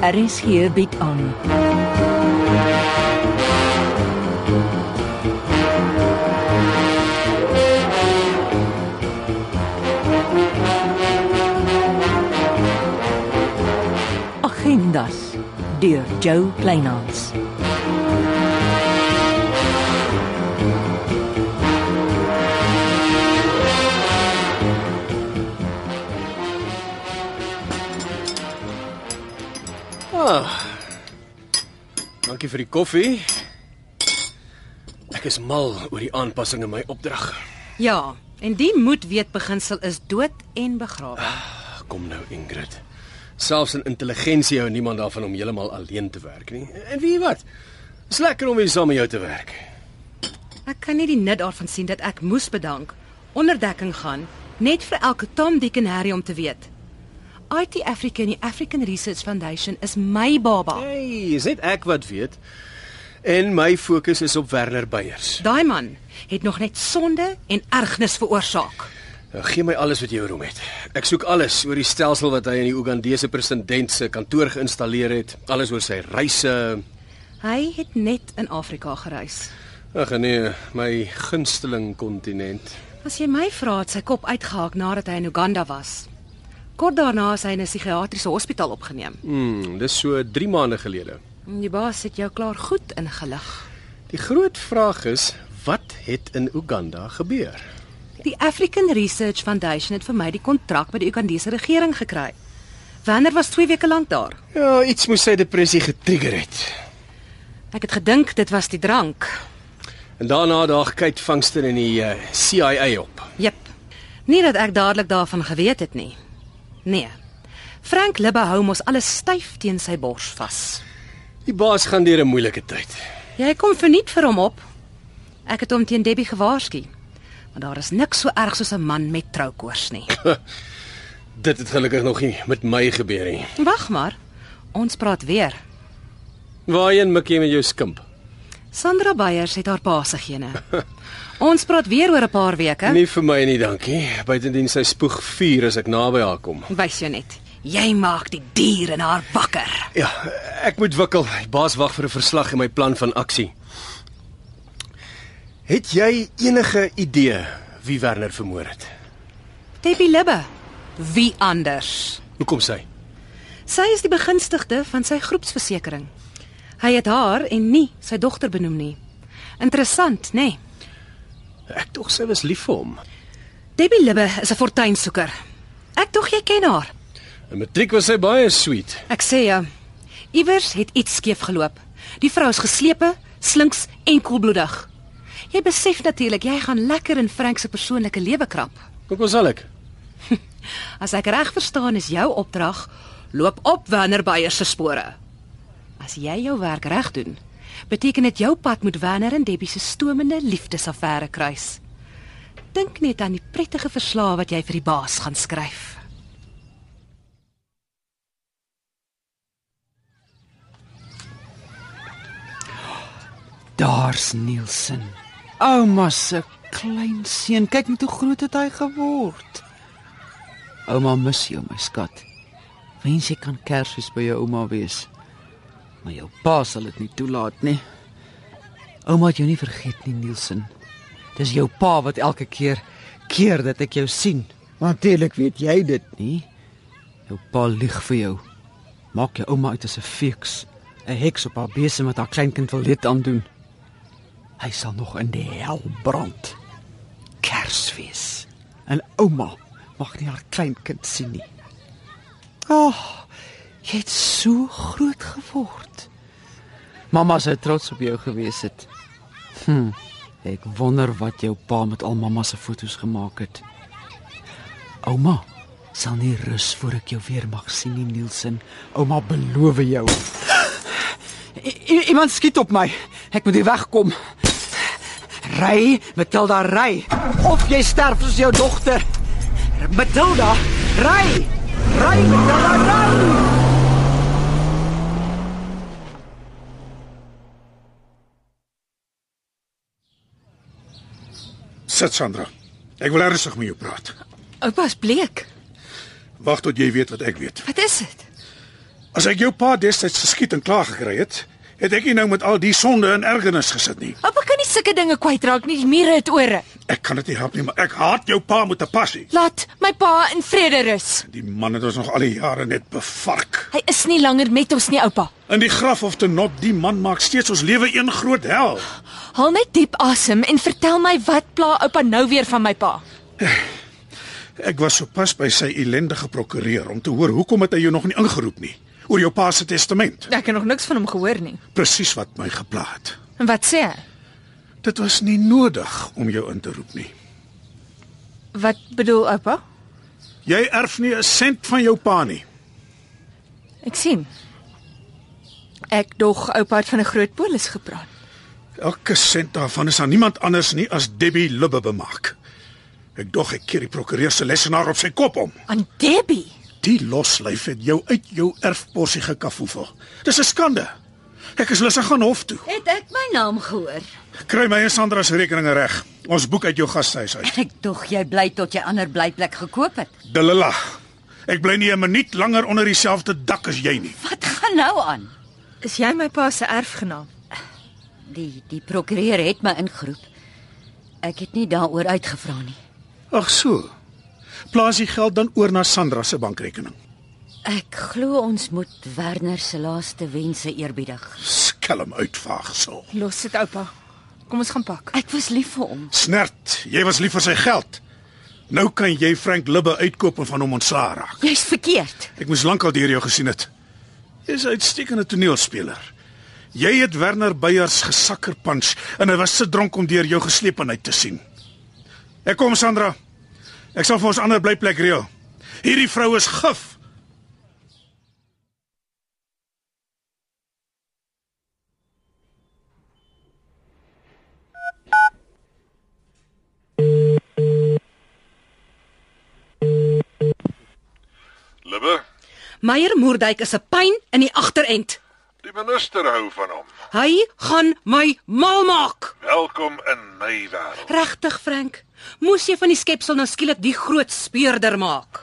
RSG bied aan. Agendas deur Jo Kleinhans. Dankie vir die koffie. Ek is mal oor die aanpassing in my opdrag. Ja, en die moet weet beginsel is dood en begrawe. Kom nou Ingrid. Selfs in intelligensie hou niemand daarvan om heeltemal alleen te werk nie. En weet jy wat? Dis lekker om weer saam met jou te werk. Ek kan nie die nut daarvan sien dat ek moes bedank, onderdekking gaan, net vir elke Tom Dick en Harry om te weet. IT Africa en die African Research Foundation is my baba. Hey, is net ek wat weet. En my fokus is op Werner Beyers. Daai man het nog net sonde en ergernis veroorsaak. Nou, gee my alles wat jy oor hom het. Ek soek alles oor die stelsel wat hy in die Ugandese president se kantoor geïnstalleer het, alles oor sy reise. Hy het net in Afrika gereis. Ag nee, my gunsteling kontinent. As jy my vra, het sy kop uitgehaak nadat hy in Uganda was. Kort daarna is hy in 'n psigiatriese hospitaal opgeneem. Hmm, dis so 3 maande gelede. Die baas het jou klaar goed ingelig. Die groot vraag is, wat het in Uganda gebeur? Die African Research Foundation het vir my die kontrak met die Ugandese regering gekry. Wanneer was 2 weke lank daar? Ja, iets moes sy depressie getrigger het. Ek het gedink dit was die drank. En daarna daag Kate Vangston in die uh, CIA op. Jep. Nie dat ek dadelik daarvan geweet het nie. Nee. Frank Libbe hou mos alles styf teen sy bors vas. Die baas gaan deur 'n moeilike tyd. Jy kom verniet vir hom op. Ek het hom teen Debbie gewaarsku. Maar daar is niks so erg soos 'n man met troukoors nie. Dit het gelukkig nog nie met my gebeur nie. Wag maar. Ons praat weer. Waarheen mik jy met jou skimp? Sandra Beyers het haar pa se gene. Ons praat weer oor 'n paar weke. Nie vir my nie, dankie. Buitendien sy spoeg vuur as ek naby haar kom. Wys jou net. Jy maak die dier in haar wakker. Ja, ek moet wikkel. Die baas wag vir 'n verslag en my plan van aksie. Het jy enige idee wie Werner vermoor het? Debbie Libbe. Wie anders? Hoekom sy? Sy is die begunstigde van sy groepsversekering. Hy het haar en nie sy dogter benoem nie. Interessant, nê? Nee? Ek tog sy was lief vir hom. Debbie Libbe is 'n fortuinsoeker. Ek tog jy ken haar. In matriek was sy baie sweet. Ek sê jou, iewers het iets skeef geloop. Die vrou is geslepe, slinks en koelbloedig. Jy besef natuurlik jy gaan lekker in Frank se persoonlike lewe krap. Hoekom sal ek? As ek reg verstaan is jou opdrag loop op Werner Beyer se spore. As jy jou werk reg doen, beteken dit jou pad moet Werner en Debbie se stomende liefdesaffære kruis. Dink net aan die prettige verslae wat jy vir die baas gaan skryf. Daar's Nielsen. Ouma se klein seun, kyk net hoe groot het hy geword. Ouma mis jou, my skat. Wens jy kan Kersfees by jou ouma wees. Maar jou pa sal dit nie toelaat nie. Ouma het jou nie vergeet nie, Nielsen. Dis jou pa wat elke keer keer dat ek jou sien. Natuurlik weet jy dit nie. Jou pa lieg vir jou. Maak jou ouma uit as 'n feeks, 'n heks op haar besem wat haar kleinkind wil dit aandoen. Hy sal nog in die hel brand. Kersfees. En ouma mag nie haar kleinkind sien nie. Ag, oh, jy het so groot geword. Mamma sou trots op jou gewees het. Hm. Ek wonder wat jou pa met al mamma se foto's gemaak het. Ouma sal nie rus voor ek jou weer mag sien nie, Nielsen. Ouma beloof jou. I i- iemand skiet op my. Ek moet hier wegkom. Ry, Matilda, ry of jy sterf soos jou dogter. Matilda, ry. Ry, Matilda, ry. Sit Sandra. Ek wil ernstig met jou praat. Oupa's bleek. Wag tot jy weet wat ek weet. Wat is dit? As ek jou pa destyds geskiet en klaar gekry het, het ek nie nou met al die sonde en ergernis gesit nie. Oupa kan nie sulke dinge kwytraak nie. Die mure het ore. Ek kan dit nie help nie, maar ek haat jou pa met 'n passie. Laat my pa in vrede rus. Die man het ons nog al die jare net bevark. Hy is nie langer met ons nie, oupa. In die graf of te not, die man maak steeds ons lewe een groot hel. Haal net diep asem en vertel my wat pla oupa nou weer van my pa. Ek was sopas by sy ellendige prokureur om te hoor hoekom het hy jou nog nie ingeroep nie oor jou pa se testament. Ek het nog niks van hom gehoor nie. Presies wat my gepla het. En wat sê hy? Dit was nie nodig om jou in te roep nie. Wat bedoel oupa? Jy erf nie 'n sent van jou pa nie. Ek sien. Ek dog oupa het van 'n groot polis gepraat. Elke sent daarvan is aan niemand anders nie as Debbie Lubbe bemaak. Ek dog ek keer die prokureur se lesenaar op sy kop om. Aan Debbie. Die loslyf het jou uit jou erfposie gekafoefel. Dis 'n skande. Ek is lus om gaan hof toe. Het ek my naam gehoor? Kry my en Sandra se rekeninge reg. Ons boek uit jou gastehuis uit. Ek tog jy bly tot jy ander blyplek gekoop het. Delila. Ek bly nie 'n minuut langer onder dieselfde dak as jy nie. Wat gaan nou aan? Is jy my pa se erfgenaam? Die die prokureur het my ingeroep. Ek het nie daaroor uitgevra nie. Ag so. Plaas die geld dan oor na Sandra se bankrekening. Ek glo ons moet Werner se laaste wense eerbiedig. Skelm uitvaagsel. Los dit oupa. Kom ons gaan pak. Ek was lief vir hom. Snert, jy was lief vir sy geld. Nou kan jy Frank Libbe uitkoop en van hom ontslaa raak. Jy's verkeerd. Ek moes lankal deur jou gesien het. Jy's 'n uitstekende toneelspeler. Jy het Werner Beyers gesakker punch en hy was se dronk om deur jou geslepenheid te sien. Ek kom Sandra. Ek sal vir ons ander blyplek reël. Hierdie vrou is gif. Libbe, Meyer Moerdijk is 'n pyn in die agterend. die minister hou van hom. Hy gaan my mal maak. Welkom in my wêreld. Regtig, Frank? Moes jy van die skepsel nou skielik die groot speurder maak?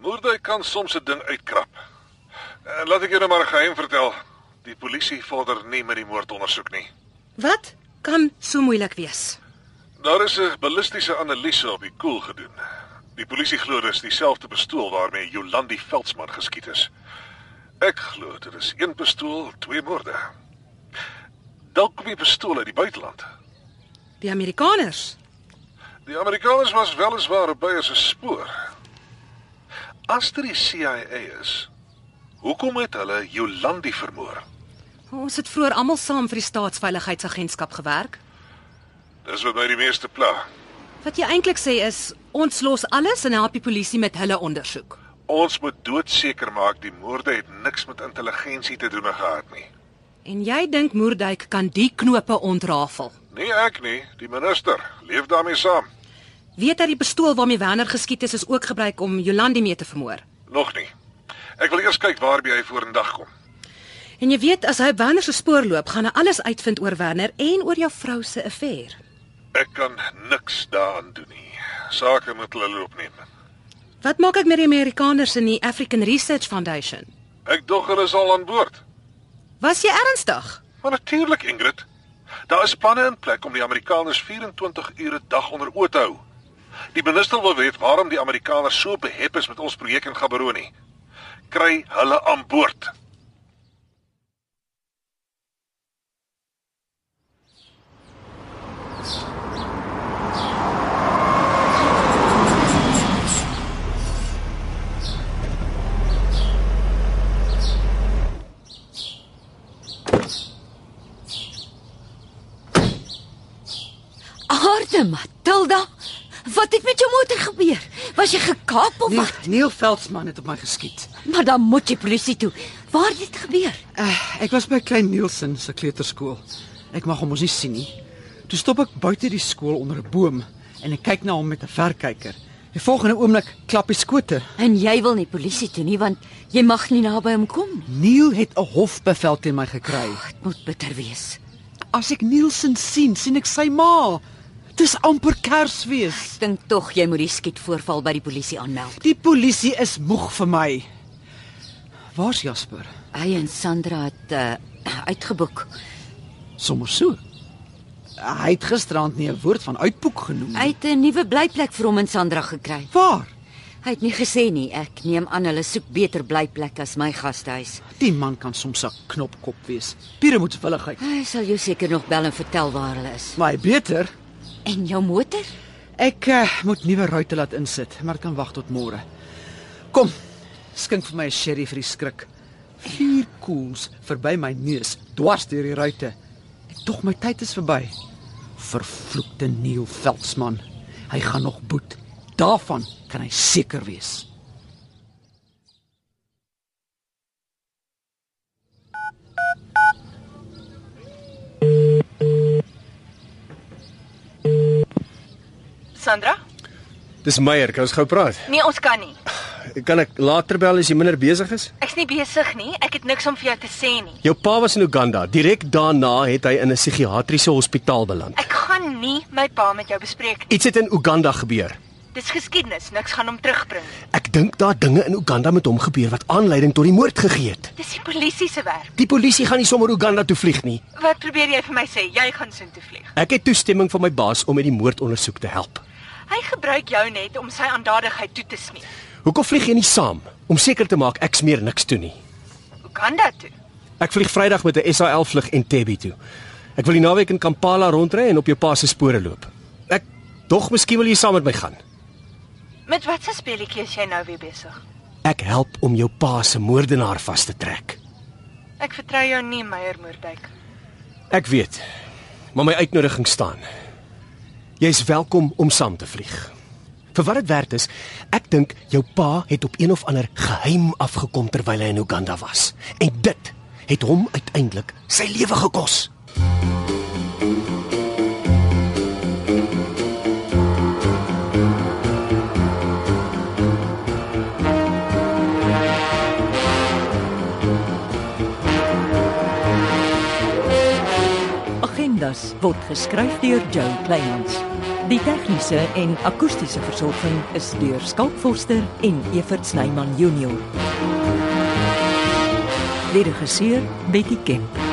Moordy kan soms 'n ding uitkrap. En laat ek jou nou maar 'n geheim vertel. Die polisie vorder nie met die moordondersoek nie. Wat kan so moeilik wees? Daar is 'n ballistiese analise op die koel gedoen. Die polisie glo dis dieselfde pistool waarmee Jolandi Veldsmann geskiet is. Ek glo dit is een pistool, twee moorde. Dalk kom die pistool uit die buiteland. Die Amerikaners. Die Amerikaners was weliswaar op Beyer se spoor. As dit die CIA is, hoekom het hulle Jolandi vermoor? Ons het vroeër almal saam vir die staatsveiligheidsagentskap gewerk. Dis wat my die meeste pla. Wat jy eintlik sê is ons los alles en help die polisie met hulle ondersoek. Ons moet doodseker maak die moorde het niks met intelligensie te doen gehad nie. En jy dink Moerdijk kan die knope ontrafel? Nee ek nie, die minister leef daarmee saam. Weet hy die pistool waarmee Werner geskiet is is ook gebruik om Jolandi mee te vermoor? Nog nie. Ek wil eers kyk waarby hy vorendag kom. En jy weet as hy op Werner se spoor loop, gaan hy alles uitvind oor Werner en oor jou vrou se affære. Ek kan niks daaraan doen nie. Sake moet hulle loop neem. Wat maak ek met die Amerikaners in die African Research Foundation? Ek dog hulle is al aan boord. Was jy ernstig? Maar natuurlik, Ingrid. Daar is planne in plek om die Amerikaners 24 ure 'n dag onder oë te hou. Die minister wil weet waarom die Amerikaners so behep is met ons projek in Gaborone. Kry hulle aan boord. Aarde Matilda, wat het met jou motor gebeur? Was jy gekaap of Nee, wat? Neil Veldsmann het op my geskiet. Maar dan moet jy polisie toe. Waar het dit gebeur? Uh, ek was by Klein Nielsen se kleuterskool. Ek mag hom mos nie sien nie. Toe stop ek buite die skool onder 'n boom en ek kyk na hom met 'n verkyker. Die volgende oomblik klap hy skote. En jy wil nie polisie toe nie want jy mag nie naby hom kom nie. Neil het 'n hofbevel teen my gekry. Dit moet bitter wees. As ek Nielsen sien, sien ek sy ma. Dis amper Kersfees. Ek dink tog jy moet die skietvoorval by die polisie aanmeld. Die polisie is moeg vir my. Waar's Jasper? Hy en Sandra het uh, uitgeboek. Sommer so. Hy het gisterand nie 'n woord van uitboek genoem nie. Hy het 'n nuwe blyplek vir hom en Sandra gekry. Waar? Hy het nie gesê nie. Ek neem aan hulle soek beter blyplek as my gastehuis. Die man kan soms 'n knopkop wees. Pure moet willigheid. Hy sal jou seker nog bel en vertel waar hulle is. Maar hy beter, En jou motor? ek uh, moet nuwe ruite laat insit, maar dit kan wag tot môre. Kom. Skink vir my 'n sherry vir die skrik. Vier koels verby my neus, dwars deur die ruite. En Tog my tyd is verby. Vervloekte Neil Veldsmann. Hy gaan nog boet. Daarvan kan hy seker wees. Sandra? Dis Meyer, kan ons gou praat? Nee, ons kan nie. Kan ek later bel as jy minder besig is? Ek's nie besig nie. Ek het niks om vir jou te sê nie. Jou pa was in Uganda. Direk daarna het hy in 'n psigiatriese hospitaal beland. Ek gaan nie my pa met jou bespreek nie. Iets het in Uganda gebeur. Dis geskiedenis. Niks gaan hom terugbring nie. Ek dink daar dinge in Uganda met hom gebeur wat aanleiding tot die moord gegee het. Dis die polisie se werk. Die polisie gaan nie sommer Uganda toe vlieg nie. Wat probeer jy vir my sê? Jy gaan soontoe vlieg. Ek het toestemming van my baas om met die moordondersoek te help. Hy gebruik jou net om sy aandadigheid toe te smeer. Hoekom vlieg jy nie saam om seker te maak ek smeer niks toe nie? Hoe kan dit toe? Ek vlieg Vrydag met 'n SAL vlug Entebbe toe. Ek wil die naweek in Kampala rondry en op jou pa se spore loop. Ek dog miskien wil jy saam met my gaan. Met watse speletjie is jy nou weer besig? Ek help om jou pa se moordenaar vas te trek. Ek vertrou jou nie, Meyer Moerdijk. Ek weet. Maar my uitnodiging staan. Jy's welkom om saam te vlieg. Vir wat dit werd is, ek dink jou pa het op een of ander geheim afgekom terwyl hy in Uganda was. En dit het hom uiteindelik sy lewe gekos. Agendas word geskryf deur Joe Kleinhans. Die tegniese en akoestiese versorging is deur Skalk Forster en Evert Snyman Junior. Lede geseer Betty Kemp.